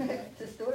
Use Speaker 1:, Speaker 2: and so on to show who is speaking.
Speaker 1: It's a story.